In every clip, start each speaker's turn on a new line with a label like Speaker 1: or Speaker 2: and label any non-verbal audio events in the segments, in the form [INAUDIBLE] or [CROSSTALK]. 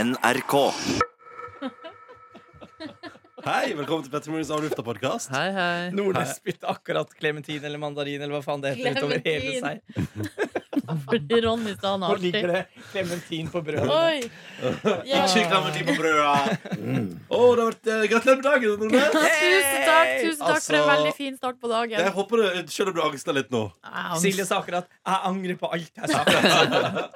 Speaker 1: NRK.
Speaker 2: Hei, velkommen til Petter Morgens Av Lufta-podkast.
Speaker 3: Hei, hei.
Speaker 4: Nordnes spytta akkurat klementin eller mandarin eller hva faen det heter utover hele
Speaker 5: Clementin.
Speaker 4: seg.
Speaker 5: Fordi Ronny sa han
Speaker 4: Hvor
Speaker 5: har
Speaker 4: ligger
Speaker 5: det.
Speaker 4: det klementin på brødet?
Speaker 5: Oi! Ja.
Speaker 1: Ikke glem de på brødet.
Speaker 2: Mm. Å, det har vært eh, Gratulerer med dagen, Nordnes!
Speaker 5: Tusen takk tusen takk for en
Speaker 2: Altså,
Speaker 5: veldig fin start på
Speaker 2: Jeg
Speaker 5: dagen.
Speaker 2: håper du Selv om du angsta litt nå.
Speaker 5: Au.
Speaker 4: Silje sa akkurat 'jeg angrer på alt jeg sa'.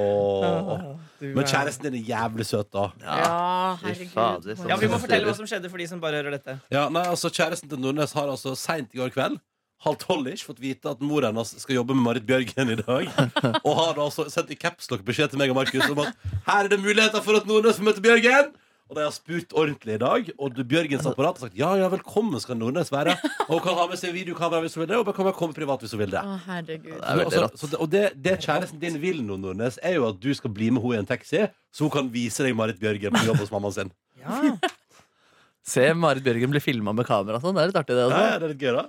Speaker 2: Åh.
Speaker 4: Du
Speaker 2: Men
Speaker 4: er-
Speaker 2: kjæresten din er jævlig søt, da.
Speaker 5: Ja,
Speaker 3: Fy
Speaker 5: herregud.
Speaker 3: fader,
Speaker 4: Ja, Vi må
Speaker 3: sånn.
Speaker 4: fortelle hva som skjedde for de som bare hører dette.
Speaker 2: Ja, nei, altså Kjæresten til Nordnes har altså seint i går kveld Halv tolv ish, fått vite at mor hennes skal jobbe med Marit Bjørgen i [LAUGHS] dag. Og har da altså sendt i capslock beskjed til meg og Markus om at her er det muligheter for at Nordnes får møte Bjørgen. Og de har spurt ordentlig i dag. Og du- Bjørgens apparat har sagt ja, ja, velkommen skal Nordnes være. Og hun kan ha med seg videokamera hvis hun vil det, og hun kan komme privat hvis hun vil det.
Speaker 5: Å, herregud.
Speaker 3: Det er veldig
Speaker 2: Altså,
Speaker 3: rått.
Speaker 2: så det, og det, det kjæresten din vil nå, Nordnes, er jo at du skal bli med henne i en taxi, så hun kan vise deg Marit Bjørgen på jobb hos
Speaker 5: [LAUGHS]
Speaker 2: mammaen sin.
Speaker 3: Se Marit Bjørgen bli filma med kamera og sånn. Det er litt artig, det
Speaker 2: Ja, ja,
Speaker 3: også.
Speaker 2: det er litt gøy, da.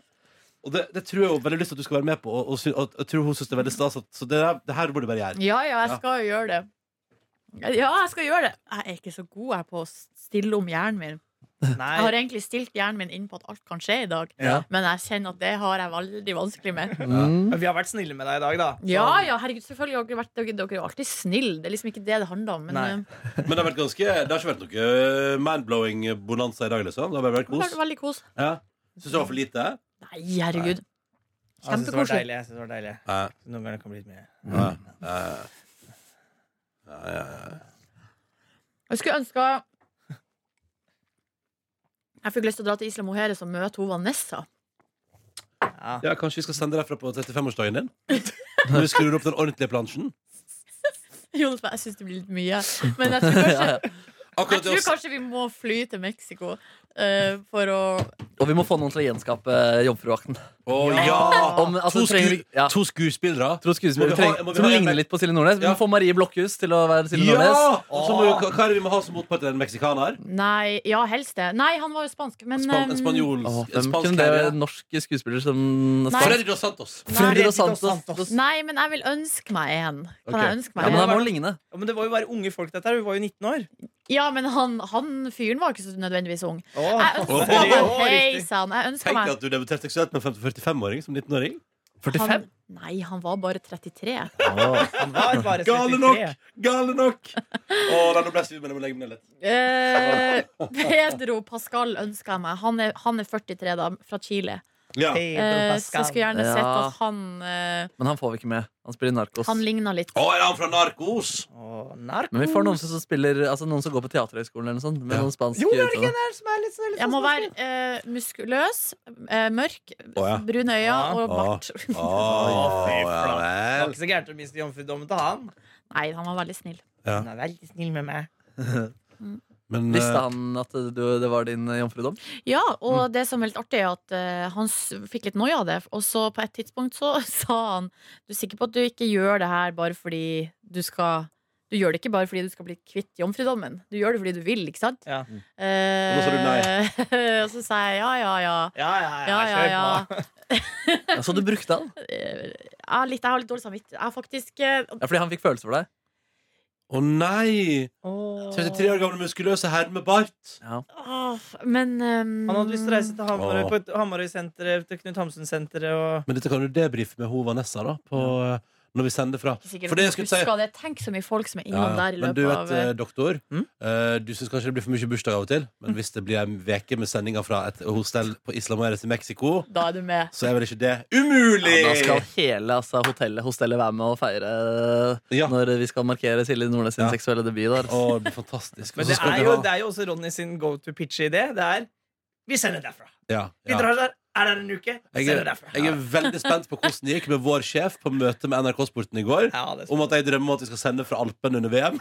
Speaker 2: Og det, det tror jeg hun veldig lyst til at du skal være med på, og, og, sy- og jeg tror hun syns det er veldig stas. at- Så det, der, det her burde du bare gjøre.
Speaker 5: Ja, ja, jeg
Speaker 2: Ja.
Speaker 5: skal jo gjøre det. Ja, jeg skal gjøre det. Jeg er ikke så god jeg på å stille om hjernen min. Jeg har
Speaker 4: Nei.
Speaker 5: egentlig stilt hjernen min inn på at alt kan skje i dag,
Speaker 4: Ja.
Speaker 5: men jeg kjenner at det har jeg veldig vanskelig med.
Speaker 3: Mm.
Speaker 4: Men vi har vært snille med deg i dag, da. Så-
Speaker 5: Ja, ja, herregud, selvfølgelig har dere vært dere, dere er jo alltid snille. Det er liksom ikke det det handler om. Men
Speaker 4: Nei.
Speaker 5: eh,
Speaker 2: Men det har, vært ganske, det har ikke vært noe eh, mind-blowing bonanza i dag, liksom. Det har bare vært
Speaker 5: det har
Speaker 2: kos.
Speaker 5: vært veldig kos.
Speaker 2: Ja. Syns du det var for lite?
Speaker 5: Nei, herregud.
Speaker 4: Jeg synes Sånn. Altså, det var
Speaker 5: Kjempekoselig.
Speaker 4: deilig. Jeg synes det var deilig.
Speaker 2: Ja.
Speaker 4: Noen ganger kan det bli litt mer.
Speaker 2: Ja. Ja. Ja, ja, ja.
Speaker 5: Jeg skulle ønske Jeg fikk lyst til å dra til Isla Moheres og møte hun Vanessa. [LAUGHS]
Speaker 4: Ja.
Speaker 2: ja, kanskje vi skal sende derfra på 35-årsdagen din? Når vi skrur opp den ordentlige plansjen?
Speaker 5: Jo, jeg syns det blir litt mye. Men jeg tror kanskje,
Speaker 3: [LAUGHS] Ja, ja.
Speaker 2: Akkurat
Speaker 5: jeg
Speaker 2: det å
Speaker 5: tror kanskje vi må fly til Mexico eh, for å
Speaker 3: Og vi må få noen til å gjenskape eh, Jomfruakten.
Speaker 2: Å ja!
Speaker 3: Om- altså,
Speaker 2: to,
Speaker 3: trenger vi-
Speaker 2: sku,
Speaker 3: ja.
Speaker 2: to skuespillere.
Speaker 3: To skuespillere
Speaker 2: Må vi ha-
Speaker 3: trenger-
Speaker 2: må vi
Speaker 3: som
Speaker 2: ha en-
Speaker 3: ligner litt på Silje Nordnes. Vi
Speaker 2: Ja.
Speaker 3: må få Marie Blokhus til å være Silje Nordnes.
Speaker 2: Ja! Og så må vi, hva hva er det vi må ha som motpart? En meksikaner?
Speaker 5: Nei, ja, helst det. Nei, han var jo spansk, men
Speaker 2: Span, en
Speaker 5: eh,
Speaker 2: spanjol?
Speaker 3: Åh,
Speaker 2: en
Speaker 3: Hvem
Speaker 2: spansk
Speaker 3: kunne det
Speaker 2: herre?
Speaker 3: være norsk skuespiller som
Speaker 5: Nei.
Speaker 3: spansk?
Speaker 2: Freddy Dos Santos.
Speaker 3: Freddy
Speaker 4: Freddy
Speaker 3: Dos
Speaker 4: Dos
Speaker 3: Santos.
Speaker 4: Santos.
Speaker 5: Nei, men jeg vil ønske meg en. Kan
Speaker 2: Ok.
Speaker 5: jeg ønske
Speaker 3: Ja,
Speaker 5: meg
Speaker 3: men
Speaker 5: en?
Speaker 3: da må han ligne.
Speaker 4: Ja, Men det var jo bare unge folk, dette her. Vi var jo 19 år.
Speaker 5: Ja, men han, han fyren var ikke så nødvendigvis ung. Jeg
Speaker 4: Åh.
Speaker 5: ønsker
Speaker 2: Å,
Speaker 5: meg
Speaker 4: riktig.
Speaker 5: Hei sann! Jeg ønsker
Speaker 2: Tenk
Speaker 5: meg
Speaker 2: deg at du debuterte seksuelt med en 45-åring som 19-åring.
Speaker 5: han,
Speaker 3: 45?
Speaker 5: Nei, han var bare 33.
Speaker 4: Han var bare
Speaker 2: Gale nok!
Speaker 4: 73.
Speaker 2: Gale
Speaker 5: [LAUGHS]
Speaker 2: nok! Å, nei, nå ble jeg sur, men jeg må legge meg ned litt.
Speaker 5: Eh, Pedro Pascal ønsker jeg meg. Han er, han er 43, da, fra Chile.
Speaker 2: Ja. Å,
Speaker 4: Pedro
Speaker 5: Eh, så
Speaker 4: Pascal.
Speaker 5: jeg skulle gjerne sett
Speaker 3: Ja.
Speaker 5: at han eh,
Speaker 3: Men han får vi ikke med. Han spiller Narkos.
Speaker 5: Han ligna litt.
Speaker 2: er han fra Narkos?
Speaker 4: Åh, nark.
Speaker 3: Men vi får noen som spiller Altså noen som går på teaterhøgskolen eller noe sånt. Med
Speaker 2: Ja.
Speaker 3: noen spansk
Speaker 4: Jo, men er det ikke
Speaker 3: utdanning.
Speaker 4: en her som er litt sånn litt
Speaker 5: Jeg må
Speaker 4: sånn-
Speaker 5: være eh, muskuløs, eh, mørk,
Speaker 2: Å, ja.
Speaker 5: brune øyne
Speaker 4: Ja.
Speaker 5: og bart. [LAUGHS]
Speaker 2: Å,
Speaker 4: fy
Speaker 2: ja
Speaker 4: Det var
Speaker 2: vel.
Speaker 4: ikke så gærent å miste jomfrudommen til han.
Speaker 5: Nei, han var veldig snill.
Speaker 2: Ja.
Speaker 4: Han er veldig snill med meg.
Speaker 2: Men eh,
Speaker 3: Visste han at du, det var din eh, jomfrudom?
Speaker 5: Ja, og
Speaker 2: Mm.
Speaker 5: det som er litt artig, er at eh, han s- fikk litt noia av det. Og så på et tidspunkt så [LAUGHS] sa han Du er sikker på at du ikke gjør det her bare fordi du skal Du gjør det ikke bare fordi du skal bli kvitt jomfrudommen. Du gjør det fordi du vil, ikke sant?
Speaker 4: Ja.
Speaker 5: Eh,
Speaker 2: Og da sa du
Speaker 5: [LAUGHS] og så sa jeg ja, ja, ja.
Speaker 4: Ja, ja, ja,
Speaker 5: Ja, ja,
Speaker 4: kjør
Speaker 5: ja.
Speaker 4: på.
Speaker 3: Ja, så du brukte han?
Speaker 5: Eh, Jeg har litt, jeg har litt dårlig samvittighet. Jeg har faktisk eh,
Speaker 3: Ja, fordi han fikk følelser for deg?
Speaker 2: Å nei! 33 år gamle muskuløse herre med bart.
Speaker 5: Åh, men ehm,
Speaker 4: Han hadde lyst til å reise til Hamarøy,
Speaker 2: Åh.
Speaker 4: på et Hamarøy-senteret, til Knut Hamsun-senteret og
Speaker 2: Men dette kan du debrife med ho Vanessa da på, eh, når vi sender fra.
Speaker 5: Ikke sikkert
Speaker 2: For
Speaker 5: om
Speaker 2: det
Speaker 5: jeg
Speaker 2: jeg skulle
Speaker 5: husker
Speaker 2: si
Speaker 5: det. Tenk så mye folk som er
Speaker 2: Ja,
Speaker 5: innom
Speaker 2: ja.
Speaker 5: der i
Speaker 2: Men
Speaker 5: løpet
Speaker 2: du vet,
Speaker 5: av
Speaker 2: eh, doktor,
Speaker 4: Mm?
Speaker 2: eh, du syns kanskje det blir for mye bursdag av og til, men hvis det blir en veke med sendinger fra et hostell på Isla Mujeres i Mexico,
Speaker 5: Da er du med.
Speaker 2: så er vel ikke det
Speaker 3: Ja,
Speaker 2: umulig!
Speaker 3: da skal hele altså, hotellet, hostellet være med og feire eh,
Speaker 2: Ja.
Speaker 3: når vi skal markere Silje Nordnes sin
Speaker 2: Ja.
Speaker 3: seksuelle debut. Der.
Speaker 2: Å, det blir fantastisk. Og
Speaker 4: Men
Speaker 2: så
Speaker 4: det
Speaker 2: skal
Speaker 4: er,
Speaker 2: vi
Speaker 4: jo,
Speaker 2: ha-
Speaker 4: det er jo også Ronny sin go to pitch-idé. Det er Vi sender derfra.
Speaker 2: ja,
Speaker 4: Vi
Speaker 2: ja.
Speaker 4: drar der. Er der en uke. Vi
Speaker 2: Jeg,
Speaker 4: sender
Speaker 2: er,
Speaker 4: derfra.
Speaker 2: jeg er veldig spent på hvordan det gikk med vår sjef på møte med NRK Sporten i går.
Speaker 4: Ja, det er
Speaker 2: Om at jeg drømmer om at vi skal sende fra Alpene under VM.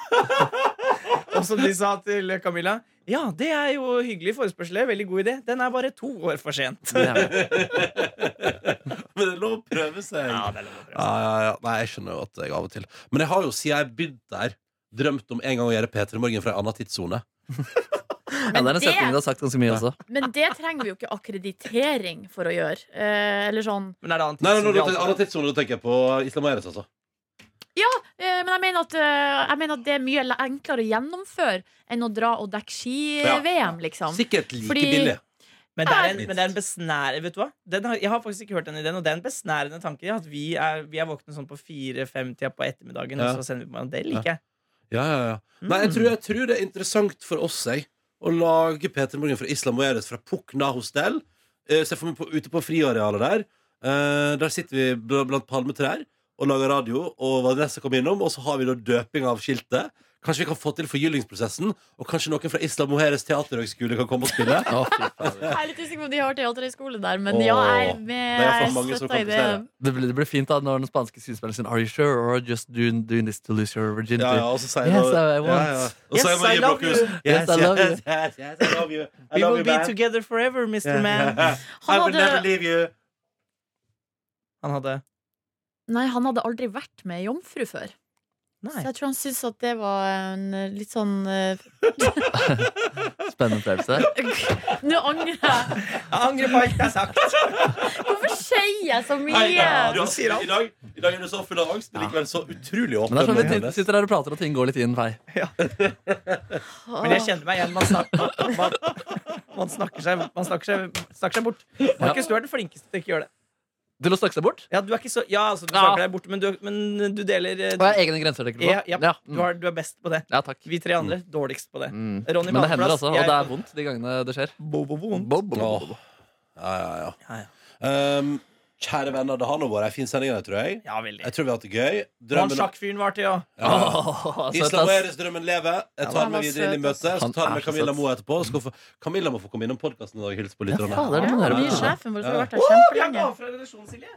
Speaker 4: Og som de sa til Camilla Ja, det er jo hyggelig forespørsel. Veldig god idé. Den er bare to år for sent.
Speaker 3: Det er det.
Speaker 2: [LAUGHS] Men det er lov å prøve seg.
Speaker 4: Ja, det er lov å prøve.
Speaker 2: Ja, ja, ja. Nei, jeg skjønner jo at jeg av og til Men jeg har jo siden jeg begynte der Drømt om en gang å gjøre P3 Morgen fra en annen tidssone
Speaker 3: Ja, det er en
Speaker 5: det-
Speaker 3: setning du har sagt ganske mye også.
Speaker 5: Men det trenger vi jo ikke akkreditering for å gjøre. Eh, eller sånn
Speaker 4: Men er det annet
Speaker 2: Nei, nei,
Speaker 4: som
Speaker 2: nei,
Speaker 4: vi
Speaker 2: nå-
Speaker 4: alltid-
Speaker 2: annen tidssone, da tenker jeg på Islam og Eres altså
Speaker 5: Eh, Men jeg mener, at, eh, jeg mener at det er mye le- enklere å gjennomføre enn å dra og dekke ski-VM, liksom.
Speaker 2: Sikkert like
Speaker 5: Fordi-
Speaker 2: billig.
Speaker 4: Men det er en, men det er en besnære, vet du hva? Den har, jeg har faktisk ikke hørt den ideen, og det er en besnærende tanke. ja, At vi er, vi er våkne sånn på fire-fem-tida på ettermiddagen,
Speaker 2: Ja.
Speaker 4: og så sender vi på Det liker jeg.
Speaker 2: Ja, ja, ja.
Speaker 4: Mm.
Speaker 2: Nei, jeg tror, jeg tror det er interessant for oss jeg, å lage Peter Morgen fra Isla Mujeres fra Pukna hostel. Eh, Se for meg på, ute på friarealet der. Eh, der sitter vi bl blant palmetrær og lager radio, og Vanessa kommer innom, og så har vi da døping av skiltet. Kanskje vi kan få til forgyllingsprosessen, og kanskje noen fra Isla Mujeres teaterhøgskole kan komme og spille.
Speaker 3: Å, fy faen.
Speaker 5: Jeg er litt usikker på om de har teaterhøyskole der, men
Speaker 2: Åh,
Speaker 5: ja, jeg er med.
Speaker 2: det er for
Speaker 5: Jeg er
Speaker 2: mange som
Speaker 5: støtta i
Speaker 2: kan
Speaker 5: det.
Speaker 2: prestere.
Speaker 3: Det ble, det ble fint da når den spanske skuespilleren sier Are you sure or just doing, doing this to lose your virginity?
Speaker 2: Ja, ja, og så sier
Speaker 3: Yes,
Speaker 2: da-
Speaker 3: I want.
Speaker 2: Og så
Speaker 4: Yes,
Speaker 2: er Marie
Speaker 4: I love
Speaker 2: Blokhus,
Speaker 4: you.
Speaker 2: Yes,
Speaker 3: Yes, I love
Speaker 2: yes, yes, yes, I love you. I
Speaker 4: We
Speaker 2: love
Speaker 4: will
Speaker 2: you,
Speaker 4: be
Speaker 2: man.
Speaker 4: together forever, Mr.
Speaker 2: Yeah.
Speaker 4: Man.
Speaker 5: Han
Speaker 2: [LAUGHS] I will
Speaker 5: hadde-
Speaker 2: never leave you.
Speaker 4: [LAUGHS] Han hadde
Speaker 5: Nei, han hadde aldri vært med jomfru før. Så
Speaker 4: Nei.
Speaker 5: jeg tror han syntes at det var en eh, litt sånn eh, [LAUGHS]
Speaker 3: Spennende opplevelse.
Speaker 5: Nå angrer jeg.
Speaker 4: Jeg angrer på alt jeg har sagt.
Speaker 5: Hvorfor sier jeg så mye?
Speaker 2: Hei, ja, du
Speaker 4: Du sier alt.
Speaker 2: I dag, I dag er du så full av angst, men likevel så utrolig åpen.
Speaker 3: Men det er sånn vi
Speaker 2: og
Speaker 3: sitter- sitter her og prater, og ting går litt i en vei.
Speaker 4: [LAUGHS] Men jeg kjenner meg igjen. Man [LAUGHS] snakker, man, man snakker, seg, man snakker, seg, snakker seg bort. Markus, du er den flinkeste til å ikke gjøre det.
Speaker 3: Til å snakke seg bort?
Speaker 4: Ja, du er ikke så Ja, altså, du
Speaker 3: Ja.
Speaker 4: snakker deg bort, men du, men du deler eh,
Speaker 3: Og jeg har egne grenser å tenke på.
Speaker 4: Ja, ja,
Speaker 3: Ja,
Speaker 4: Du,
Speaker 3: mm.
Speaker 4: har, du er best på det.
Speaker 3: ja takk.
Speaker 4: Vi tre andre dårligst på det.
Speaker 3: Mm.
Speaker 4: Ronny
Speaker 3: Men det hender
Speaker 4: Malmplass,
Speaker 3: altså, og
Speaker 4: jeg-
Speaker 3: det er vondt de gangene det skjer.
Speaker 4: Bo, bo, bo.
Speaker 3: Bo, bo, bo,
Speaker 2: Åh.
Speaker 3: bo.
Speaker 2: Ja, ja,
Speaker 4: Ja,
Speaker 2: ja. Um, kjære venner, det har nå vært en fin sending, her, tror jeg.
Speaker 4: Ja, veldig.
Speaker 2: Jeg tror vi har hatt det gøy.
Speaker 4: Og Han
Speaker 2: Drømmen
Speaker 4: sjakkfyren var til, ja.
Speaker 2: ja.
Speaker 3: Åh, søt,
Speaker 2: Islam
Speaker 3: ass.
Speaker 2: Eres drømmen lever. Jeg tar
Speaker 5: han
Speaker 2: med
Speaker 5: var
Speaker 2: videre inn i
Speaker 5: søt, ass.
Speaker 2: møtet. Så
Speaker 3: Han
Speaker 2: tar jeg
Speaker 3: er
Speaker 2: med
Speaker 3: så
Speaker 2: Camilla
Speaker 3: søt.
Speaker 2: Moe etterpå. Skal få... Camilla må få komme innom podkasten i dag og hilse på
Speaker 3: Ja,
Speaker 2: lytterne.
Speaker 3: faen, det er det
Speaker 5: Ja,
Speaker 3: man hører
Speaker 5: den
Speaker 3: på.
Speaker 5: nye sjefen vår som har vært
Speaker 4: Vi
Speaker 5: her
Speaker 4: har
Speaker 5: kjempelenge.
Speaker 4: gave fra redaksjonen, Silje.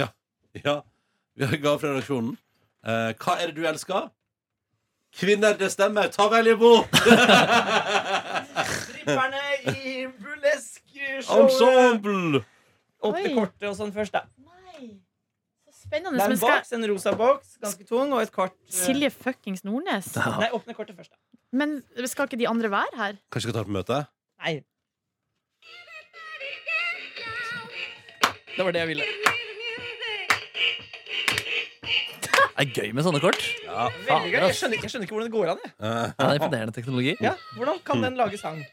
Speaker 2: [LAUGHS] Ja, vi har gav fra redaksjonen. Eh, hva er det du elsker? Kvinner, det stemmer. Ta vel imot!
Speaker 4: Stripperne i bulesk-showet.
Speaker 2: Ensemble!
Speaker 4: Opp til
Speaker 5: Oi.
Speaker 4: kortet og sånn først, da.
Speaker 5: Nei, så spennende.
Speaker 4: Det er
Speaker 5: Men
Speaker 4: en
Speaker 5: skal
Speaker 4: boks, en rosa boks, ganske tung, og et kort. eh,
Speaker 5: Silje fuckings Nordnes?
Speaker 4: Nei, åpne kortet først, da.
Speaker 5: Men skal ikke de andre være her?
Speaker 2: Kanskje vi skal ta det på møte?
Speaker 4: Nei. Det var det jeg ville.
Speaker 3: Det er gøy med sånne kort.
Speaker 2: Ja.
Speaker 4: Veldig gøy. Jeg skjønner, ikke- jeg skjønner ikke hvordan det går an. Jeg.
Speaker 2: Eh,
Speaker 3: Ja, det er imponerende teknologi.
Speaker 4: Ja, hvordan kan den lage sang?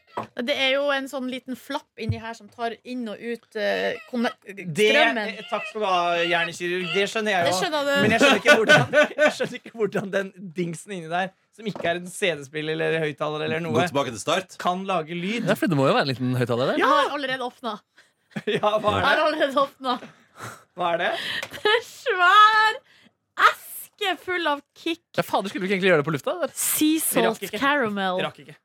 Speaker 5: Det er jo en sånn liten flapp inni her som tar inn og ut eh, konne-
Speaker 4: Det,
Speaker 5: strømmen.
Speaker 4: eh, takk skal du ha, hjernekirurg. Det skjønner jeg
Speaker 5: Det
Speaker 4: jo.
Speaker 5: skjønner du.
Speaker 4: Men jeg skjønner, ikke hvordan, [LAUGHS] jeg skjønner ikke hvordan den dingsen inni der, som ikke er en CD-spiller eller høyttaler eller
Speaker 2: Gå
Speaker 4: noe,
Speaker 2: tilbake til start.
Speaker 4: kan lage lyd. [LAUGHS]
Speaker 3: Ja, for det må jo være en liten høyttaler der.
Speaker 5: Jeg har allerede åpna.
Speaker 4: Ja, hva er det?
Speaker 5: Jeg har allerede åpna.
Speaker 4: Hva er det?
Speaker 5: Svær eske full av kick.
Speaker 3: Ja, fader, skulle vi ikke egentlig gjøre det på lufta? Der?
Speaker 5: Sea salt
Speaker 4: rakk ikke.
Speaker 5: caramel.
Speaker 4: Rakk ikke.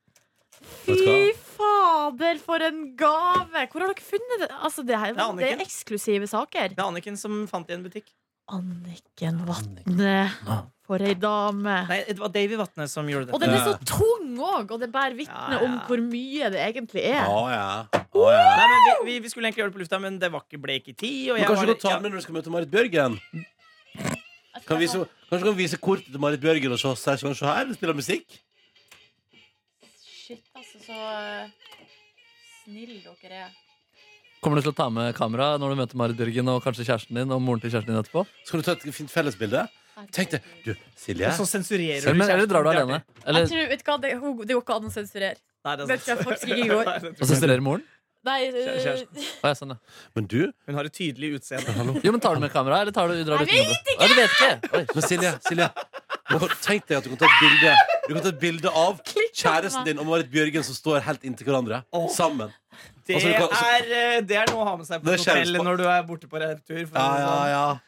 Speaker 2: Vet du
Speaker 5: Fy fader, for en gave! Hvor har dere funnet det? Altså, det, her,
Speaker 4: Det aner
Speaker 5: det
Speaker 4: ikke.
Speaker 5: er eksklusive saker.
Speaker 4: Det er Anniken som fant i en butikk.
Speaker 5: Anniken Vatne. For ei dame.
Speaker 4: Nei, det var Davy Vatne som gjorde
Speaker 5: Og
Speaker 4: det.
Speaker 5: den er så tung òg, og det bærer vitne
Speaker 4: Ja, ja.
Speaker 5: om hvor mye det egentlig
Speaker 2: Å
Speaker 5: er.
Speaker 2: ja. Å, ja.
Speaker 4: Nei, men vi, vi, vi skulle egentlig gjøre det på lufta, men det var ikke, ble ikke tid. Og
Speaker 2: Men
Speaker 4: jeg
Speaker 2: kanskje du
Speaker 4: var,
Speaker 2: kan ta den
Speaker 4: ja,
Speaker 2: med når du skal møte Marit Bjørgen? Kan vise, kanskje du kan vise kortet til Marit Bjørgen og se, se, se, se her? Spille musikk?
Speaker 5: Shit, altså, så snille dere er.
Speaker 3: Kommer du til å ta med kamera når du møter Marit Bjørgen og kanskje kjæresten din og moren til kjæresten din etterpå?
Speaker 2: Så kan du ta et fint fellesbilde. Tenk deg, du, Silje
Speaker 4: så sensurerer du
Speaker 3: Eller, men,
Speaker 4: kjæresten.
Speaker 3: eller drar du
Speaker 4: Det er
Speaker 3: alene?
Speaker 4: artig.
Speaker 5: Jeg
Speaker 3: Eller
Speaker 5: tror, vet du hva, det, hun- det går ikke an å sensurere.
Speaker 4: Nei, det er
Speaker 5: Vet
Speaker 4: sant.
Speaker 5: du hva, faktisk ikke går.
Speaker 4: [LAUGHS] Nei, det
Speaker 3: og
Speaker 4: tror jeg ikke.
Speaker 3: sensurerer moren?
Speaker 5: Nei, øh,
Speaker 4: Kjæresten.
Speaker 3: Å, ja, sånn, ja.
Speaker 2: Men du,
Speaker 4: Hun har et tydelig utseende.
Speaker 3: Jo, men tar du med kamera, eller tar du, drar du
Speaker 5: Jeg
Speaker 3: uten kamera? Å, du vet ikke! Oi.
Speaker 2: men Silje, Silje du kan- Tenk deg at du kan ta et bilde Du kan ta et bilde av kjæresten din og Marit Bjørgen som står helt inntil hverandre.
Speaker 4: Åh.
Speaker 2: Sammen.
Speaker 4: Det
Speaker 2: Altså, du kan- så-
Speaker 4: er, eh, det er noe å ha med seg på et
Speaker 2: Det kjennes
Speaker 4: hotell
Speaker 2: på-
Speaker 4: når du er borte på retur. for å si det
Speaker 2: Ja, ja,
Speaker 4: sånn.
Speaker 2: ja.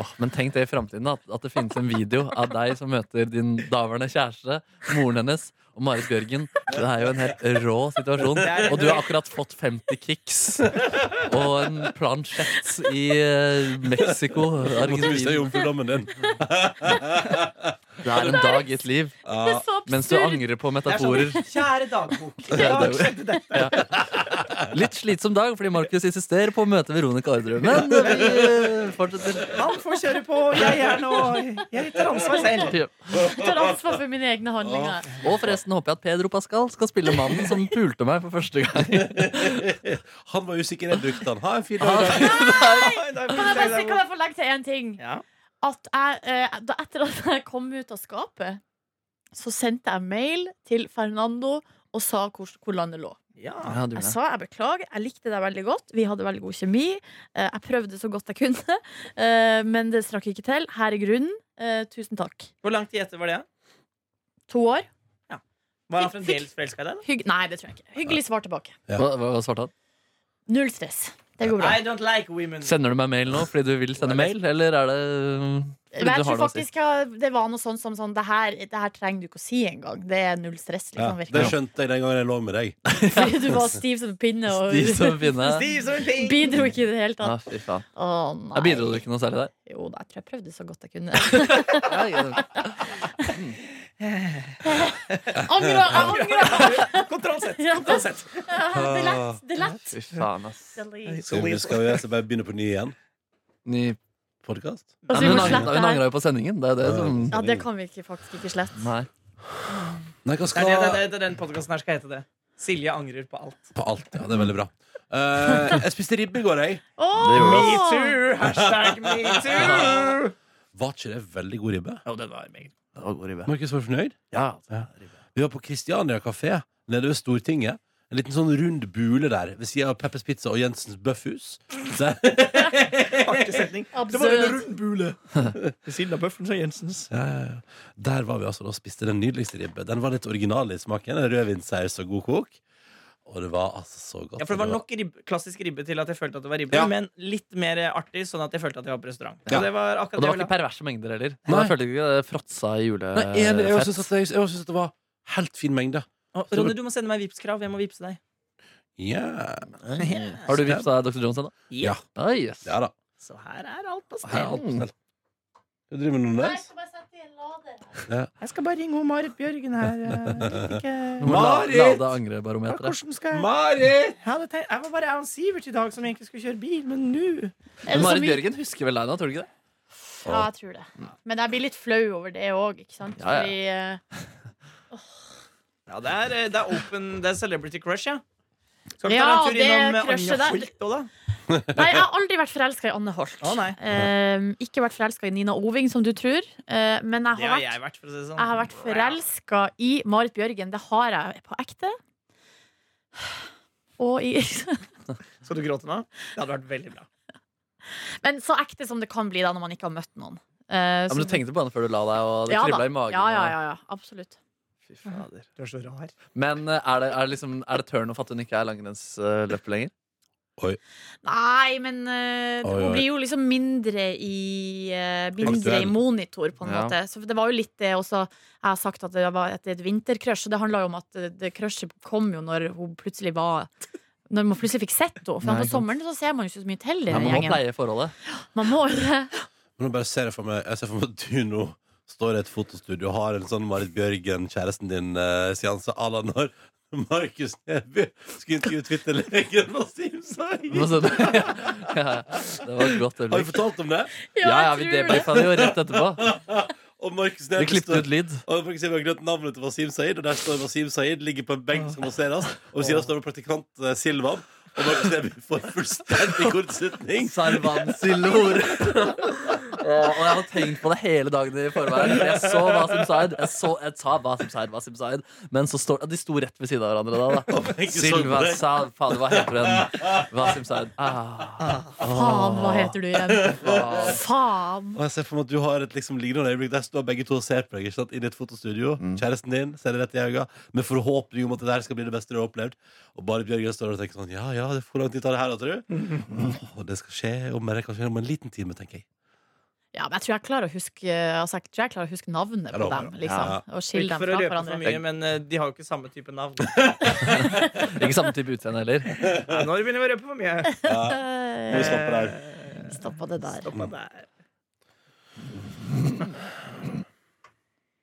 Speaker 3: Åh, men tenk det i framtiden, at, at det finnes en video av deg som møter din daværende kjæreste, moren hennes og Marit Bjørgen. Det er jo en helt rå situasjon. Og du har akkurat fått 50 kicks og en plansjett i eh, Mexico.
Speaker 2: Du måtte miste
Speaker 3: Argentina.
Speaker 2: jomfrudommen din.
Speaker 3: Det er en dag i et liv
Speaker 5: det er så absurd.
Speaker 3: mens du angrer på
Speaker 4: Det er
Speaker 3: metaforer.
Speaker 4: sånn, Kjære
Speaker 2: [LAUGHS]
Speaker 4: dagbok. I
Speaker 3: det er
Speaker 4: dag
Speaker 3: jo-
Speaker 4: skjedde dette.
Speaker 3: Litt slitsom dag fordi Markus insisterer på å møte Veronica Orderud. Men vi eh, fortsetter.
Speaker 4: Han får kjøre på. Jeg er nå Jeg tar ansvar selv.
Speaker 5: Jeg tar ansvar for mine egne handlinger.
Speaker 3: Og forresten håper jeg at Pedro Pascal skal spille mannen som pulte meg for første gang.
Speaker 2: Han var usikker, jeg brukte han. Ha en fin dag. i dag.
Speaker 4: Nei, da fikk
Speaker 5: Kan jeg, bare,
Speaker 4: jeg
Speaker 5: si-
Speaker 4: det.
Speaker 5: kan jeg få legge til én ting?
Speaker 4: Ja.
Speaker 5: at jeg, eh, da, etter at jeg kom ut av skapet, så sendte jeg mail til Fernando og sa hvor, hvor landet lå.
Speaker 4: Ja.
Speaker 3: Ja, du,
Speaker 5: Jeg
Speaker 3: ja.
Speaker 5: sa jeg beklager, jeg likte deg veldig godt. Vi hadde veldig god kjemi. Eh, Jeg prøvde så godt jeg kunne, eh, men det strakk ikke til. Her er grunnen. Eh, Tusen takk.
Speaker 4: Hvor lang tid etter var det?
Speaker 5: To år.
Speaker 4: Var han fremdeles forelska i deg? da?
Speaker 5: Hygg Nei, det tror jeg ikke. Hyggelig svar tilbake.
Speaker 3: Hva, hva hva svarte han?
Speaker 5: Null stress. Det går bra.
Speaker 4: I don't like women.
Speaker 3: Sender du meg mail nå fordi du vil sende mail, eller er det mm, fordi
Speaker 5: Men jeg
Speaker 3: du har
Speaker 5: tror
Speaker 3: noe å si?
Speaker 5: faktisk jeg, det var noe sånn som sånn Det her, det her trenger du ikke å si engang. Det er null stress,
Speaker 2: Ja,
Speaker 5: liksom.
Speaker 2: det
Speaker 5: Virkelig.
Speaker 2: skjønte jeg den gangen jeg lå med deg.
Speaker 5: Fordi [LAUGHS] du var stiv som en pinne og
Speaker 3: [LAUGHS] De som finner
Speaker 4: Stiv som en ping!
Speaker 5: [LAUGHS] bidro ikke i det hele
Speaker 3: Ja,
Speaker 5: tatt.
Speaker 3: fy faen.
Speaker 5: Å,
Speaker 3: Da
Speaker 5: nei.
Speaker 3: bidro du ikke noe særlig der.
Speaker 5: Jo da, jeg tror jeg prøvde så godt jeg kunne. Angrer! Jeg
Speaker 3: [LAUGHS]
Speaker 5: angrer!
Speaker 4: Kontrollsett!
Speaker 5: Ja, det,
Speaker 4: Kontrollsett.
Speaker 5: ja, det er lett. Det er lett.
Speaker 3: Fy faen, ass.
Speaker 5: Delete.
Speaker 2: Skal vi, skal vi altså bare begynne på ny igjen?
Speaker 3: Ny-
Speaker 2: Podcast?
Speaker 5: Altså, vi
Speaker 3: Nei, men
Speaker 5: må
Speaker 3: hun
Speaker 5: slette
Speaker 3: angra- hun
Speaker 5: det her.
Speaker 3: angra jo på sendingen. Det er det som
Speaker 5: Ja, det kan vi ikke, faktisk ikke slette.
Speaker 3: Nei.
Speaker 2: Nei, hva
Speaker 4: Det er det, det,
Speaker 2: skal
Speaker 4: er det den podkasten her skal hete. det Silje angrer på alt.
Speaker 2: På alt. Ja, det er veldig bra. Eh, jeg spiste ribbe i går, jeg.
Speaker 5: Åh!
Speaker 3: Det gjorde
Speaker 4: Me too! Hashtag me too!
Speaker 2: [LAUGHS] Var ikke det veldig god ribbe?
Speaker 4: Jo, den var meget
Speaker 3: Det var god ribbe.
Speaker 2: Markus var fornøyd.
Speaker 3: Ja.
Speaker 2: Vi var på Kristiania kafé nede ved Stortinget. En liten sånn rund bule der ved sida av Peppers Pizza og Jensens Bøffhus. Der,
Speaker 4: artig setning.
Speaker 5: Absurd.
Speaker 4: rund [LAUGHS] bule. Ved siden av bøffen så er Jensens.
Speaker 2: Ja, ja, ja. der var vi altså da og spiste den nydeligste ribbe. Den var litt original i smaken. Rødvinsaus og god kok. Og det var altså så godt.
Speaker 4: Ja, for Det var nok ribbe, klassisk ribbe til at jeg følte at det var ribbe,
Speaker 2: Ja.
Speaker 4: men litt mer artig, sånn at jeg følte at jeg var på restaurant.
Speaker 2: Ja.
Speaker 4: Og det var
Speaker 3: Og
Speaker 4: akkurat
Speaker 3: det
Speaker 4: det
Speaker 3: var
Speaker 4: jeg ville
Speaker 3: ikke
Speaker 4: ha.
Speaker 3: perverse mengder heller.
Speaker 2: Nei.
Speaker 3: Jeg følte ikke det fråtsa i
Speaker 2: Nei, enig. Jeg
Speaker 3: julefett.
Speaker 2: syns at, jeg- jeg også synes at det var helt fin mengde.
Speaker 4: Å, Ronny, du må sende meg Vipps-krav. Jeg må vippse deg.
Speaker 2: Ja.
Speaker 3: Har du vippsa Dr. Jones ennå?
Speaker 2: Ja.
Speaker 3: Ah, yes.
Speaker 2: ja da.
Speaker 4: Så her er alt på
Speaker 2: Her er
Speaker 4: stell.
Speaker 2: alt på
Speaker 3: Mm.
Speaker 2: stell. Skal du drive med noe
Speaker 5: Nei, jeg
Speaker 2: nes?
Speaker 5: skal bare sette i en lader.
Speaker 4: Jeg skal bare ringe hun Marit Bjørgen her. eh,
Speaker 3: Du må la- Lade angrebarometeret.
Speaker 4: Hvordan skal
Speaker 2: Marit!
Speaker 4: Jeg, hadde tenkt, jeg var bare Alan Sivert i dag som egentlig skulle kjøre bil, men nå
Speaker 5: Er det så
Speaker 3: Marit
Speaker 5: mye-
Speaker 3: Bjørgen husker vel deg nå, tror du ikke det?
Speaker 5: Ja, jeg tror det. Men jeg blir litt flau over det òg, ikke sant?
Speaker 3: Ja, ja.
Speaker 5: Fordi eh,
Speaker 4: Ja, det er, eh, det er open Det er celebrity crush, ja. Skal vi
Speaker 5: Ja,
Speaker 4: ta en tur
Speaker 5: det
Speaker 4: innom eh,
Speaker 5: crushet
Speaker 4: Anja
Speaker 5: der.
Speaker 4: Holt òg, da?
Speaker 5: Nei, jeg har aldri vært forelska i Anne Holt.
Speaker 4: Å, nei.
Speaker 5: Ehm, ikke vært forelska i Nina Oving, som du tror. Eh, men jeg
Speaker 4: Det
Speaker 5: har
Speaker 4: har
Speaker 5: vært,
Speaker 4: jeg vært, for å si det sånn.
Speaker 5: jeg har vært forelska i Marit Bjørgen. Det har jeg på ekte. Og i, [LAUGHS]
Speaker 4: Skal du gråte nå? Det hadde vært veldig bra.
Speaker 5: men så ekte som det kan bli da når man ikke har møtt noen. Eh,
Speaker 3: Ja, men
Speaker 5: så-
Speaker 3: du tenkte på henne før du la deg, og det
Speaker 5: Ja da.
Speaker 3: kribla i magen.
Speaker 5: Ja, ja,
Speaker 3: og-
Speaker 5: ja, ja, absolutt.
Speaker 3: Fy fader.
Speaker 4: Du er så rar.
Speaker 3: Men eh, er det, er, det liksom, er det turn off at hun ikke er langrennsløper lenger?
Speaker 5: Nei, men eh,
Speaker 2: Oi, oi.
Speaker 5: hun blir jo liksom mindre i eh, Mindre
Speaker 2: Aktuell.
Speaker 5: i monitor, på en
Speaker 3: Ja.
Speaker 5: måte. Så det var jo litt det også Jeg har sagt at det var et, et vintercrush, og det handla jo om at eh, det crushet kom jo når hun plutselig var når man plutselig fikk sett henne. For
Speaker 3: Nei,
Speaker 5: på
Speaker 3: ikke sant.
Speaker 5: sommeren så ser man jo ikke så mye til i
Speaker 3: Ja,
Speaker 5: den
Speaker 3: man må
Speaker 5: gjengen.
Speaker 3: pleie forholdet. [LAUGHS]
Speaker 5: Man må [LAUGHS] jo det.
Speaker 2: Nå bare ser jeg for meg Jeg ser for meg at du nå står i et fotostudio og har en sånn Marit Bjørgen, kjæresten din-seanse à la når Markus Neby skulle intervjue Twitter-legen og
Speaker 3: Du [LAUGHS] må
Speaker 2: Simsai.
Speaker 3: se det. ja, ja. det var et godt
Speaker 2: Har vi
Speaker 3: øyeblikk.
Speaker 2: fortalt om det?
Speaker 3: Ja, ja, vi
Speaker 5: jeg tror det.
Speaker 3: debrifa det jo rett etterpå.
Speaker 2: Og Markus
Speaker 3: Vi
Speaker 2: Neby
Speaker 3: klippet
Speaker 2: står
Speaker 3: ut lyd.
Speaker 2: og Markus Neby har glemt navnet til Wasim Saeed, og der står Wasim Saeed, ligger på en benk som masseres, og ved siden av står praktikant eh, Silvan. Og Markus Neby får fullstendig kortslutning.
Speaker 3: Sarvansilor. [LAUGHS] og jeg hadde tenkt på det hele dagen i forveien. Jeg så hva som said, jeg, så, jeg sa hva som said, hva som said. Men så står, de sto rett ved siden av hverandre da. da.
Speaker 2: begge så sånn
Speaker 3: Silva
Speaker 2: på deg.
Speaker 3: sa Fader, hva heter den? Hva som said. Ah,
Speaker 5: Faen, hva heter du igjen?
Speaker 3: [LAUGHS] faen.
Speaker 5: Faen.
Speaker 2: Og jeg ser for meg at du har et liksom lignende øyeblikk Der står begge to og ser på deg ikke sant? Inni et fotostudio
Speaker 3: Mm.
Speaker 2: Kjæresten din ser deg rett i øynene Med forhåpning om at det der skal bli det beste du har opplevd Og bare Bjørgen står der og tenker sånn Ja, ja, det- hvor lang tid tar det her da, tror du? Og det skal skje om, det kan skje om en liten time, tenker jeg
Speaker 5: Ja, men jeg tror jeg klarer å huske altså, jeg tror jeg klarer å huske navnet
Speaker 2: Ja,
Speaker 5: på
Speaker 2: da,
Speaker 5: dem.
Speaker 2: ja.
Speaker 5: Liksom, og skille
Speaker 4: Ikke for
Speaker 5: dem
Speaker 4: å
Speaker 5: fra
Speaker 4: røpe for
Speaker 5: hverandre.
Speaker 4: mye, men eh, de har jo ikke samme type navn.
Speaker 3: Ikke samme type utseende heller.
Speaker 4: Nei, Nå begynner vi å røpe for mye.
Speaker 2: Må vi stoppe der?
Speaker 5: Eh, Stoppa det der.
Speaker 4: Stoppa der.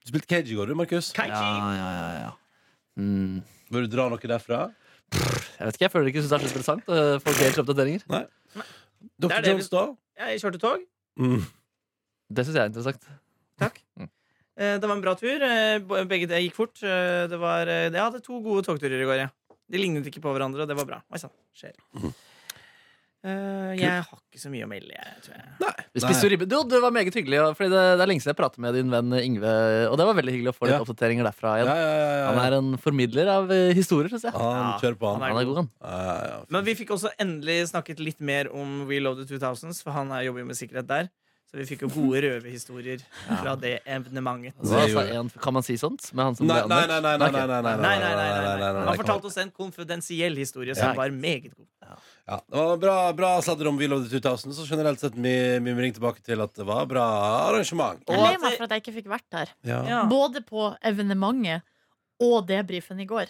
Speaker 2: Du spilte cage i går, du, Markus
Speaker 4: Kai
Speaker 3: Ja,
Speaker 4: Chi.
Speaker 3: ja, ja, ja. Mm.
Speaker 2: Bør du dra noe derfra?
Speaker 3: Jeg vet ikke, jeg føler ikke synes det er så interessant eh, for Gage oppdateringer.
Speaker 2: Dr.
Speaker 4: er det vi-
Speaker 2: Jones da?
Speaker 4: Jeg kjørte tog.
Speaker 2: Mm.
Speaker 3: Det synes jeg er interessant.
Speaker 4: Eh, Det var en bra tur. Eh, bo- Begge det gikk fort. Eh, Det var, eh, jeg hadde to gode togturer i går. Ja. De lignet ikke på hverandre, og det var bra. Oi sann, skjer. Eh, jeg har ikke så mye å melde, jeg, tror jeg.
Speaker 3: Vi spiste jo ribbe. Du, du var meget hyggelig, og- fordi det, det er lenge siden jeg pratet med din venn Yngve. Og det var veldig hyggelig å få litt
Speaker 2: Ja.
Speaker 3: oppdateringer derfra
Speaker 2: Ja,
Speaker 3: igjen.
Speaker 2: ja, ja, ja.
Speaker 3: Han er en formidler av eh, historier, syns jeg.
Speaker 2: Han kjører på, han.
Speaker 4: Ja,
Speaker 3: Han er god, han.
Speaker 2: Ja, ja, ja.
Speaker 4: Men vi fikk også endelig snakket litt mer om We Love the 2000s, for han er- jobber jo med sikkerhet der. Så vi fikk jo gode røverhistorier fra det evenementet.
Speaker 3: Det
Speaker 2: Det
Speaker 3: var altså
Speaker 2: gjorde
Speaker 3: en, kan man si sånt med han som
Speaker 2: Nei,
Speaker 3: ble
Speaker 2: nei,
Speaker 3: anmeldt?
Speaker 2: nei, nei, nei, nei, nei, nei,
Speaker 4: Nei, nei, nei, nei,
Speaker 2: nei, nei,
Speaker 4: Han fortalte oss en konfidensiell historie som
Speaker 3: Ja.
Speaker 4: var meget god.
Speaker 2: Ja, det var bra, bra sladder om We Love the 2000, så generelt sett mi- mimring tilbake til at det var bra arrangement.
Speaker 5: Jeg
Speaker 4: Og
Speaker 5: er lei
Speaker 4: at
Speaker 5: meg
Speaker 4: det-
Speaker 5: for at jeg ikke fikk vært der.
Speaker 2: Ja.
Speaker 4: Ja.
Speaker 5: Både på evenementet og debrifen i går.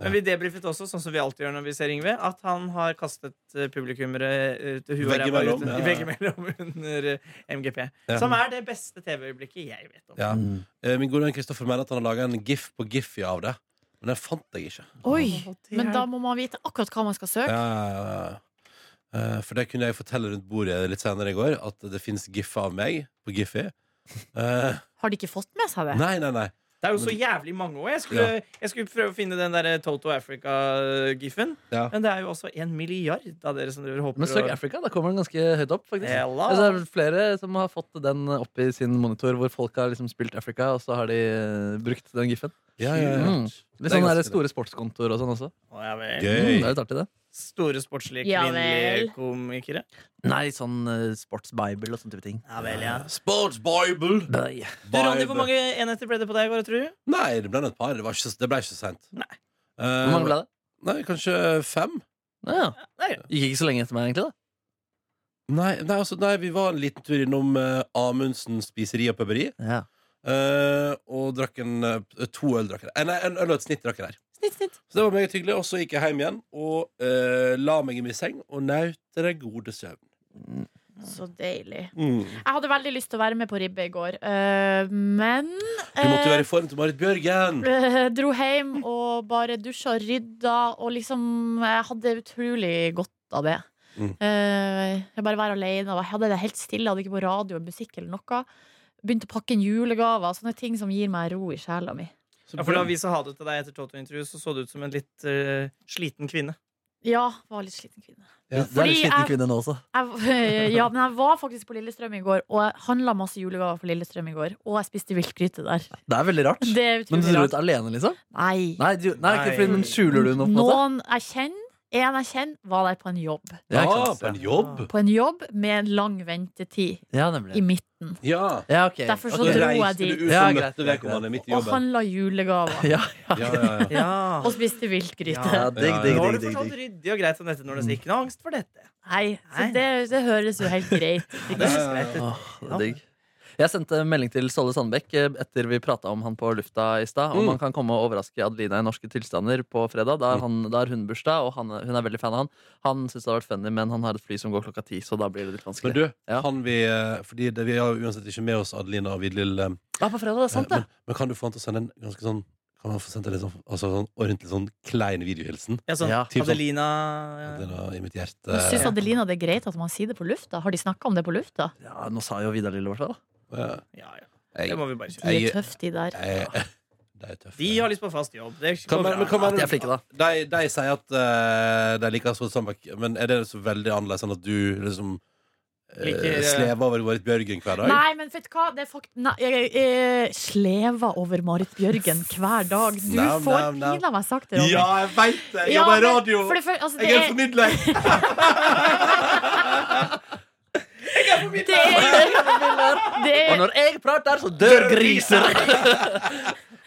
Speaker 4: Men vi debrifet også, sånn som vi alltid gjør når vi ser Yngve, at han har kastet eh, publikummere eh, til huet og ræva
Speaker 2: Veggimellom,
Speaker 4: uten-
Speaker 2: ja.
Speaker 4: veggimellom under eh, MGP.
Speaker 2: Ja.
Speaker 4: Som er det beste TV-øyeblikket jeg vet om.
Speaker 2: Ja. Eh, Min gode venn Kristoffer mener at han har laga en gif på Giphy av det, men den fant jeg ikke.
Speaker 5: Oi,
Speaker 4: Å, det
Speaker 5: Men
Speaker 4: er-
Speaker 5: da må man vite akkurat hva man skal
Speaker 2: Ja,
Speaker 5: søke.
Speaker 2: ja, ja, ja. Eh, For det kunne jeg fortelle rundt bordet litt senere i går, at det fins gif av meg på Giphy. Eh,
Speaker 5: Har de ikke fått med seg det?
Speaker 2: nei, nei, nei.
Speaker 4: Det er jo så jævlig mange år. Jeg skulle, jeg skulle prøve å finne den der eh, Toto Africa-giffen.
Speaker 2: Ja.
Speaker 4: Men det er jo også en milliard av dere som driver og håper
Speaker 3: Men søk
Speaker 4: å-
Speaker 3: Africa, da kommer den ganske høyt opp. faktisk
Speaker 4: Hella.
Speaker 3: altså, Det er vel flere som har fått den opp i sin monitor, hvor folk har liksom spilt Africa, og så har de eh, brukt den giffen.
Speaker 2: Ja, ja, ja.
Speaker 3: Mm. Litt sånn der store sportskontoer og sånn også.
Speaker 4: Å, ja vel.
Speaker 3: Mm, det er
Speaker 2: Gøy.
Speaker 3: litt artig, det.
Speaker 4: Store sportslige
Speaker 5: Ja
Speaker 4: kvinnelige
Speaker 5: vel.
Speaker 4: komikere.
Speaker 3: Nei, sånn eh, sportsbible og sånne type ting.
Speaker 4: Ja vel, ja.
Speaker 2: Sports Bible.
Speaker 3: Bøy.
Speaker 2: Eh,
Speaker 4: Du, Ronny, hvor mange enheter ble det på deg i går, tror du?
Speaker 2: Nei, det ble nå et par. Det, var ikke, det ble ikke så seint.
Speaker 4: Nei.
Speaker 3: Hvor mange ble det?
Speaker 2: Nei, kanskje fem?
Speaker 3: Ja, ja.
Speaker 4: Nei,
Speaker 3: Gikk ikke så lenge etter meg, egentlig. da
Speaker 2: Nei, nei, altså, nei vi var en liten tur innom eh, Amundsen spiseri og pøberi.
Speaker 3: ja.
Speaker 2: eh, og drakk en, eh, to øl. Drakk jeg. Eh, Nei, en øl og et snitt drakk jeg der.
Speaker 4: snitt, snitt.
Speaker 2: Så det var meget hyggelig. Og så gikk jeg hjem igjen og eh, la meg i min seng og nøt den gode søvn.
Speaker 5: Så deilig.
Speaker 2: Mm.
Speaker 5: Jeg hadde veldig lyst til å være med på ribbe i går, eh, men
Speaker 2: Du måtte jo
Speaker 5: eh,
Speaker 2: være i form til Marit Bjørgen.
Speaker 5: eh, [LAUGHS] dro hjem og bare dusja og rydda, og liksom Jeg hadde utrolig godt av det.
Speaker 2: Mm.
Speaker 5: Eh, jeg bare være alene. Og jeg hadde det helt stille, hadde ikke på radio eller musikk eller noe. Begynte å pakke inn julegaver. Sånne ting som gir meg ro i sjela mi.
Speaker 2: Så
Speaker 4: Ja, for da
Speaker 2: bra.
Speaker 4: vi sa ha det til deg etter Toto-intervjuet, så så du ut som en litt eh, sliten kvinne.
Speaker 5: Ja, var litt sliten kvinne.
Speaker 3: Du er
Speaker 5: Fordi
Speaker 3: litt sliten
Speaker 5: jeg-
Speaker 3: kvinne nå også.
Speaker 5: Jeg, [LAUGHS] ja, men jeg var faktisk på Lillestrøm i går, og jeg handla masse julegaver for Lillestrøm i går. Og jeg spiste viltgryte der.
Speaker 3: Det er veldig rart.
Speaker 5: Det er
Speaker 3: Men du
Speaker 5: utrolig
Speaker 3: dro
Speaker 5: rart.
Speaker 3: ut alene, liksom?
Speaker 5: Nei.
Speaker 3: Nei, du, nei, ikke fordi, men skjuler du noe? på en måte?
Speaker 5: Noen jeg kjenner, en jeg kjenner, var der på en jobb.
Speaker 3: Ja, ikke
Speaker 2: ah,
Speaker 3: sant?
Speaker 2: på en jobb.
Speaker 5: På en jobb med en lang ventetid
Speaker 3: Ja,
Speaker 5: i
Speaker 3: nemlig.
Speaker 5: midten.
Speaker 2: Ja.
Speaker 3: Ja, ok.
Speaker 5: Derfor så
Speaker 2: Så
Speaker 3: Ok.
Speaker 5: dro jeg
Speaker 2: reiste
Speaker 5: dit.
Speaker 2: du ut
Speaker 3: Ja,
Speaker 2: og
Speaker 3: greit,
Speaker 2: møtte
Speaker 3: greit,
Speaker 2: vedkommende midt i
Speaker 5: og
Speaker 2: jobben.
Speaker 5: handla
Speaker 3: [LAUGHS]
Speaker 5: julegaver.
Speaker 3: Ja, ja.
Speaker 2: Ja, ja, ja.
Speaker 4: [LAUGHS] Ja.
Speaker 5: Og spiste viltgryte.
Speaker 3: ja digg,
Speaker 2: Ja, ja.
Speaker 3: digg,
Speaker 4: Nå
Speaker 3: digg,
Speaker 4: har du
Speaker 3: digg, digg.
Speaker 4: fortalt ryddig og greit om dette når det ikke noe angst for dette.
Speaker 5: Nei, så det, det høres jo helt greit ut.
Speaker 4: Det høres greit ut.
Speaker 3: Åh, det
Speaker 4: Ja.
Speaker 3: er digg. Jeg sendte melding til Ståle Sandbekk eh, etter vi prata om han på lufta i stad. Om
Speaker 2: Mm.
Speaker 3: han kan komme og overraske Adelina i norske tilstander på fredag. Da er, han, da er hun bursdag, og han, hun er veldig fan av han. Han syns det har vært funny, men han har et fly som går klokka ti, så da blir det litt
Speaker 2: Men
Speaker 3: vanskelig.
Speaker 2: du,
Speaker 3: Ja.
Speaker 2: kan vi eh, Fordi det, vi har jo uansett ikke med oss Adelina og Vidlil. eh,
Speaker 3: Ja, på fredag, det er sant, det.
Speaker 2: Men, men kan du få han til å sende en ganske sånn Kan han få sendt en litt sånn, altså sånn ordentlig sånn klein videohilsen?
Speaker 4: Ja, sånn
Speaker 3: Ja.
Speaker 4: Adelina
Speaker 2: Adelina i mitt hjerte.
Speaker 5: Men Syns Adelina det er greit at man sier det på lufta? Har de snakka om det på lufta?
Speaker 3: Ja, nå sa jo Vidar Lille vårt det, da.
Speaker 2: Ja.
Speaker 4: Ja, ja.
Speaker 2: Jeg-
Speaker 4: Det må vi bare kjøre.
Speaker 5: De
Speaker 2: Jeg-
Speaker 5: er tøffe, de der.
Speaker 2: jeg- De er tøffe.
Speaker 4: De har lyst på fast jobb. Det
Speaker 2: Kan
Speaker 4: går
Speaker 2: man-
Speaker 4: bra.
Speaker 2: men kan man-
Speaker 3: At de er flinke, da.
Speaker 2: de, de sier at eh, de liker Astrid Sandbakk, men er det så veldig annerledes enn at du liksom eh,
Speaker 4: Liker, eh,
Speaker 2: slever over Marit Bjørgen hver dag?
Speaker 5: Nei, men vet du hva? Det er fakt... Nei, jeg, jeg, jeg slever over Marit Bjørgen hver dag. Du
Speaker 2: Nam,
Speaker 5: får
Speaker 2: nam, nam.
Speaker 5: pinadø meg sakte. Ronny.
Speaker 2: jeg veit det!
Speaker 5: Ja, men For det, fø- altså, det, er, [LAUGHS]
Speaker 2: formidler!
Speaker 5: det, er, det
Speaker 3: Og
Speaker 5: er
Speaker 3: når jeg prater, så dør griser!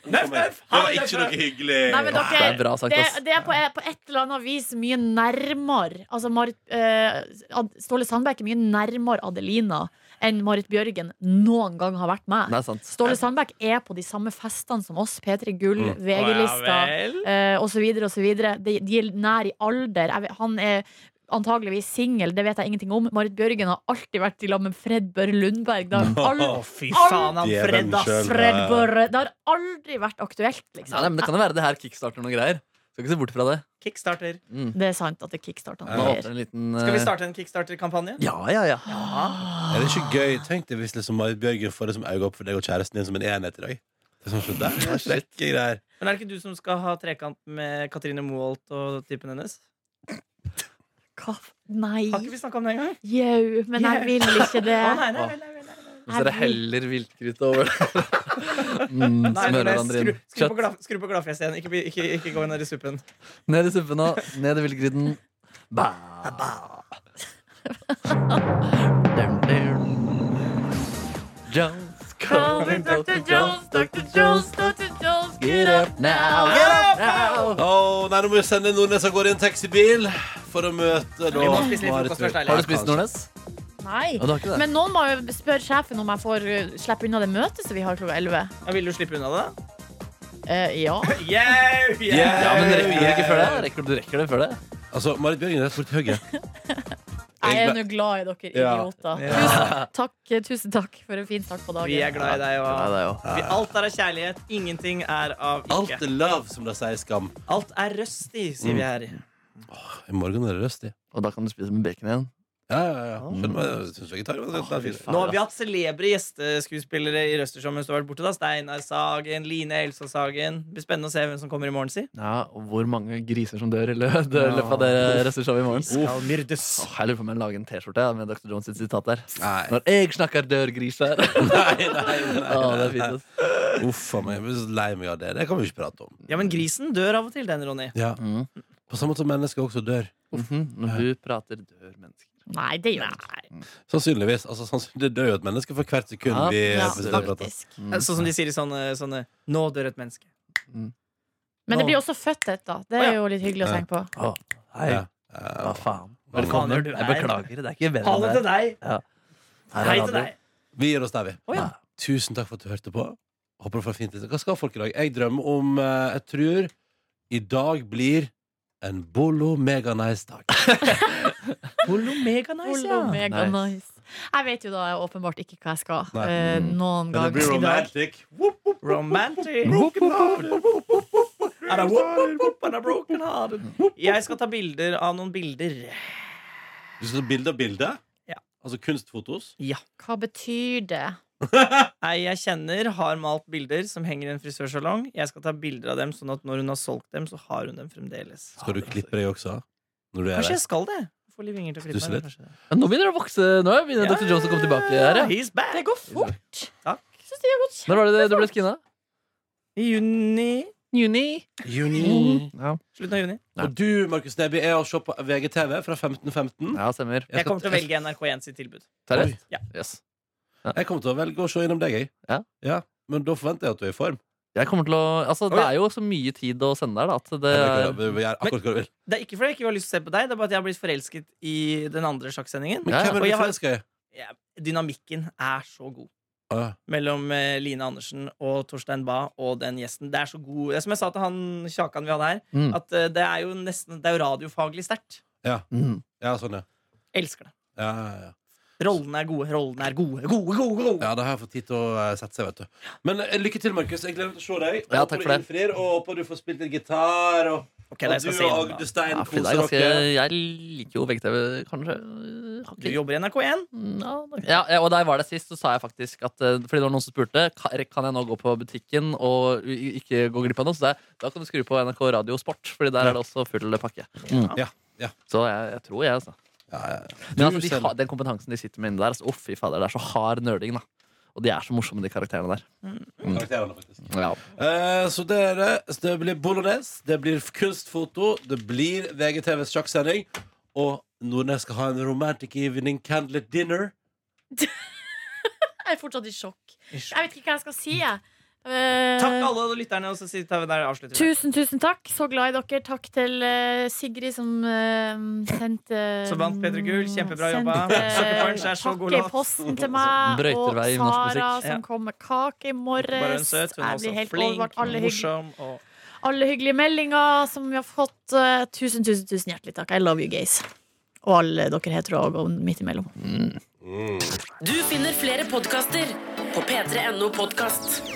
Speaker 2: Det var [LAUGHS] ikke noe hyggelig.
Speaker 5: Nei, men dere,
Speaker 3: Det er bra sagt,
Speaker 5: det,
Speaker 3: ass.
Speaker 5: det er på, på et eller annet vis mye nærmere altså Marit, eh, Ad- Ståle Sandbekk er mye nærmere Adelina enn Marit Bjørgen noen gang har vært meg.
Speaker 3: Det er sant.
Speaker 5: Ståle Sandbekk er på de samme festene som oss. P3 Gull,
Speaker 2: Mm.
Speaker 4: Å,
Speaker 5: VG-lista
Speaker 4: Ja, vel.
Speaker 5: eh, og så videre og så videre. De, de er nær i alder. Jeg, vet- han er antageligvis singel, det vet jeg ingenting om. Marit Bjørgen har alltid vært i lag med Fred Børre Lundberg. Det har,
Speaker 4: Å,
Speaker 5: aldri,
Speaker 4: fy faen, han
Speaker 2: Djevelen
Speaker 4: Fred,
Speaker 2: selv.
Speaker 4: ass.
Speaker 5: Fred Børre, det har aldri vært aktuelt, liksom.
Speaker 3: Nei, nei, men det kan jo være det her kickstarter noen greier. Skal ikke se bort fra det.
Speaker 4: Kickstarter.
Speaker 3: Mm.
Speaker 5: Det er sant at det kickstarter
Speaker 3: Nå
Speaker 5: han.
Speaker 3: åpner en liten
Speaker 4: Skal vi
Speaker 3: eh,
Speaker 4: starte en kickstarter-kampanje?
Speaker 3: Ja, ja, ja.
Speaker 2: Er det ikke gøy? Tenk deg hvis liksom Marit Bjørgen får det som øye opp for deg og kjæresten din som en enhet i dag. Det er sånn, sånn, der, er kjekke greier.
Speaker 4: Men er det ikke du som skal ha trekant med Katrine Moholt og typen hennes?
Speaker 5: Hva? f- Nei.
Speaker 4: Har ikke vi snakka om det engang?
Speaker 5: Jau, men jeg vil ikke det.
Speaker 4: Å, nei, nei, nei, nei, nei, nei.
Speaker 3: Hvis dere heller viltkruttet over det mm,
Speaker 4: Nei,
Speaker 3: Smører
Speaker 4: nei,
Speaker 3: hverandre
Speaker 4: skru,
Speaker 3: inn.
Speaker 4: skru, på
Speaker 3: Kjøtt
Speaker 4: glad, skru på gladfjeset igjen. Ikke, bli- ikke, ikke gå ned i suppen.
Speaker 3: ned i suppen og ned i viltgryten. Bæ. Dum, dum. Jones, calling Dr. Jones, Dr. Jones,
Speaker 5: Dr. Jones,
Speaker 3: get up now, get up now.
Speaker 2: Å, nei, nå må vi sende Nordnes av gårde i en taxibil for å møte da
Speaker 4: Vi må spise litt frokost først,
Speaker 2: Marit.
Speaker 4: ærlig.
Speaker 3: Har du spist Nordnes?
Speaker 5: Nei.
Speaker 3: Ja, du har ikke det?
Speaker 5: Men noen må jo spørre sjefen om jeg får uh, slippe unna det møtet som vi har klokka 11.
Speaker 4: Ja, vil du slippe unna det?
Speaker 5: Eh, ja.
Speaker 4: Yeah,
Speaker 2: Yeah.
Speaker 3: Ja, men rekker du ikke før det? Rekker du, du rekker det før det?
Speaker 2: Altså, Marit Bjørgen er fort høye.
Speaker 5: Jeg er nå glad i dere
Speaker 2: Ja.
Speaker 5: idioter.
Speaker 4: Ja.
Speaker 5: Tusen takk, eh, tusen takk for en fin start på
Speaker 4: Vi er
Speaker 5: dagen.
Speaker 4: glad i deg,
Speaker 3: Ja,
Speaker 4: og
Speaker 3: det er jo.
Speaker 4: vi, alt er av kjærlighet. Ingenting er av
Speaker 2: Alt
Speaker 4: ikke.
Speaker 2: er love, som de sier i Skam.
Speaker 4: Alt er røstig, sier
Speaker 3: Mm.
Speaker 4: vi her.
Speaker 2: I morgen er det røstig.
Speaker 3: Og da kan du spise med bacon igjen.
Speaker 2: Ja, ja,
Speaker 4: Ah.
Speaker 2: ja. Skjønner du, jeg synes jeg ikke tar det, men det er fint.
Speaker 4: Nå har vi hatt celebre gjesteskuespillere i Røstershow mens du har vært borte. da Steinar Sagen, Line Elsa Sagen. Det blir spennende å se hvem som kommer i morgen, si.
Speaker 3: Ja, og hvor mange griser som dør i lø- dør i løpet av det ressursshowet i morgen.
Speaker 4: Skal myrdes.
Speaker 3: Åh, jeg lurer på om jeg lager en T-skjorte ja, med Dr. Jones sitt sitat der.
Speaker 2: Nei.
Speaker 3: Når jeg snakker dør griser. [LAUGHS]
Speaker 2: Nei, nei, nei.
Speaker 3: Åh, det er fint. ass.
Speaker 2: Uff a meg. Jeg blir så lei meg av det. Det kan vi ikke prate om.
Speaker 4: Ja, men grisen dør av og til, den, Ronny.
Speaker 2: Ja.
Speaker 3: Mm.
Speaker 2: På samme måte som mennesker også dør.
Speaker 3: Mhm, Når du prater, dør mennesker.
Speaker 5: Nei, det gjør jeg ikke.
Speaker 2: Sannsynligvis. Altså, sannsyn- det dør jo et menneske for hvert sekund
Speaker 3: Ja.
Speaker 2: vi
Speaker 5: Ja,
Speaker 2: vi prater.
Speaker 5: faktisk.
Speaker 3: Mm.
Speaker 4: Sånn som de sier i sånne, sånne Nå dør et menneske.
Speaker 5: Men det blir også født et, da. Det er jo litt hyggelig å tenke på.
Speaker 3: Åh, hei,
Speaker 2: Ja.
Speaker 3: hva
Speaker 2: Ja.
Speaker 3: faen?
Speaker 2: Hva faen
Speaker 4: gjør
Speaker 3: Velkommen.
Speaker 4: du
Speaker 3: Jeg
Speaker 4: her?
Speaker 3: beklager, det er ikke bedre
Speaker 4: Ha det
Speaker 3: enn
Speaker 4: til deg.
Speaker 3: Her er
Speaker 4: Hei til
Speaker 3: radio.
Speaker 4: deg.
Speaker 2: Vi gir oss der, vi.
Speaker 4: Å, ja.
Speaker 2: Tusen takk for at du hørte på. Håper du får fint litt. Hva skal folk i dag? Jeg drømmer om eh, Jeg tror i dag blir en Bolo
Speaker 4: [LAUGHS]
Speaker 2: meganice dag.
Speaker 4: Polo Meganice,
Speaker 5: Olo,
Speaker 4: ja.
Speaker 5: mega
Speaker 3: Nice.
Speaker 5: nice. Jeg vet jo da åpenbart ikke hva jeg skal
Speaker 2: Nei.
Speaker 5: eh,
Speaker 4: Mm.
Speaker 5: noen gang i dag.
Speaker 4: Romantic. And a whoop, whoop, whoop, and a broken heart. Jeg skal ta bilder av noen bilder.
Speaker 2: Du skal ta bilde av bilde?
Speaker 4: Ja.
Speaker 2: Altså kunstfotos?
Speaker 4: Ja.
Speaker 5: Hva betyr det?
Speaker 4: Ei jeg kjenner, har malt bilder som henger i en frisørsalong. Jeg skal ta bilder av dem, sånn at når hun har solgt dem, så har hun dem fremdeles.
Speaker 2: Skal du klippe deg også? Når du er
Speaker 4: altså. Kanskje
Speaker 2: der?
Speaker 4: jeg skal det. Få litt vinger til å klippe
Speaker 2: Stusser
Speaker 4: meg.
Speaker 2: litt.
Speaker 4: kanskje det.
Speaker 3: Men Nå begynner det å vokse. Nå begynner Dr. Jones å komme tilbake her. Ja.
Speaker 4: He's back!
Speaker 5: Det går fort.
Speaker 4: Takk.
Speaker 5: Jeg synes det har gått
Speaker 3: Når var det du ble skinna?
Speaker 4: I juni.
Speaker 3: Juni.
Speaker 2: Juni.
Speaker 4: Mm.
Speaker 3: Ja,
Speaker 4: Slutten av juni.
Speaker 3: Nei.
Speaker 2: Og du, Markus Neby, er å se på VGTV fra 1515.
Speaker 3: ja stemmer.
Speaker 4: Jeg kommer til å velge NRK1 sitt tilbud.
Speaker 3: Seriøst?
Speaker 4: Ja.
Speaker 3: Yes.
Speaker 2: Jeg kommer til å velge å se innom deg, jeg.
Speaker 3: Ja.
Speaker 2: Men da forventer jeg at du er i form.
Speaker 3: Jeg kommer til å, altså,
Speaker 4: Oi.
Speaker 3: det er jo så mye tid å sende der, da. At det
Speaker 2: Jeg
Speaker 3: er,
Speaker 2: vil gjøre akkurat hva du vil.
Speaker 4: Det er ikke fordi jeg ikke har lyst til å se på deg, det er bare at jeg har blitt forelsket i den andre sjakksendingen.
Speaker 2: Men
Speaker 3: Ja,
Speaker 2: hvem
Speaker 4: og
Speaker 2: er du
Speaker 4: jeg har-
Speaker 2: forelska i?
Speaker 4: Ja, Dynamikken er så god.
Speaker 2: Ah,
Speaker 4: mellom eh, Line Andersen og Torstein Bae og den gjesten. Det er så god Det er som jeg sa til han Kjakan vi hadde her,
Speaker 3: Mm.
Speaker 4: at eh, det er jo nesten Det er jo radiofaglig sterkt.
Speaker 3: mm.
Speaker 2: Ja, sånn, ja.
Speaker 4: Elsker det.
Speaker 2: Ja, ja, ja.
Speaker 4: Rollene er gode. Rollene er gode, gode, gode! gode.
Speaker 2: ja, da har jeg fått tid til å eh, sette seg, vet du. Men eh, lykke til, Markus. Jeg gleder meg til å se deg.
Speaker 3: Ja,
Speaker 2: Håper
Speaker 3: takk
Speaker 2: du
Speaker 3: for det.
Speaker 2: innfrir, Og håper du får spilt litt gitar. Og,
Speaker 4: Ok, da, jeg
Speaker 2: og
Speaker 4: skal
Speaker 2: du
Speaker 4: se
Speaker 2: og
Speaker 4: gjennom det.
Speaker 2: Agdestein
Speaker 3: Ja, fordi det er
Speaker 2: koser
Speaker 3: ganske,
Speaker 2: dere.
Speaker 4: eh.
Speaker 3: jeg liker jo VGTV, kanskje. Har
Speaker 4: Du
Speaker 3: ikke-
Speaker 4: jobber i NRK1.
Speaker 3: Ja, det- Ja, ja, og der jeg var der sist, så sa jeg faktisk at eh, Fordi det var noen som spurte "Ka- Kan jeg nå gå på butikken og i- ikke gå glipp av noe. Så det, da kan du skru på NRK Radio Sport, Fordi der er det også full pakke.
Speaker 2: Ja, ja.
Speaker 3: Så jeg, jeg tror jeg, altså.
Speaker 2: Ja, ja, ja. Mm.
Speaker 3: Men
Speaker 2: Du
Speaker 3: altså, de
Speaker 2: selv.
Speaker 3: har, den kompetansen de sitter med inne der, altså, å, fy fader, det er så hard nerding, da. Og de er så morsomme, de karakterene der.
Speaker 2: Karakterene, faktisk.
Speaker 3: Ja.
Speaker 2: Eh, så det er det. Så det blir bolognese, det blir kunstfoto, det blir VGTVs sjakksending. Og Nordnes skal ha en romantic evening candlelit dinner.
Speaker 5: Jeg er fortsatt i sjokk.
Speaker 4: I
Speaker 5: Jeg vet ikke hva jeg skal si, jeg.
Speaker 4: Takk
Speaker 5: Eh,
Speaker 4: alle lytterne, og så sier vi der avslutter vi.
Speaker 5: Tusen, tusen takk. Så glad i dere. Takk til eh, Sigrid som eh, sendte
Speaker 4: [LAUGHS] Som vant P3 Gull. Kjempebra
Speaker 5: sendte
Speaker 4: jobba. Sucker Punch er så god
Speaker 5: pakke i
Speaker 4: låt.
Speaker 5: posten
Speaker 4: [LAUGHS]
Speaker 5: til meg.
Speaker 3: Brøyter
Speaker 5: Og
Speaker 3: vei i norsk musikk.
Speaker 5: Sara
Speaker 4: Ja.
Speaker 5: som kom med kake
Speaker 4: Bare
Speaker 5: i
Speaker 4: hun
Speaker 5: morges.
Speaker 4: søt. Hun er
Speaker 5: Jeg
Speaker 4: også
Speaker 5: blir helt
Speaker 4: flink,
Speaker 5: overvart. Alle, hygg,
Speaker 4: morsom og
Speaker 5: alle hyggelige meldinger som vi har fått. Eh, tusen, tusen, tusen hjertelig takk. I love you, guys. Og alle dere hetero og midt imellom.
Speaker 6: Du finner flere podkaster på p3.no podkast.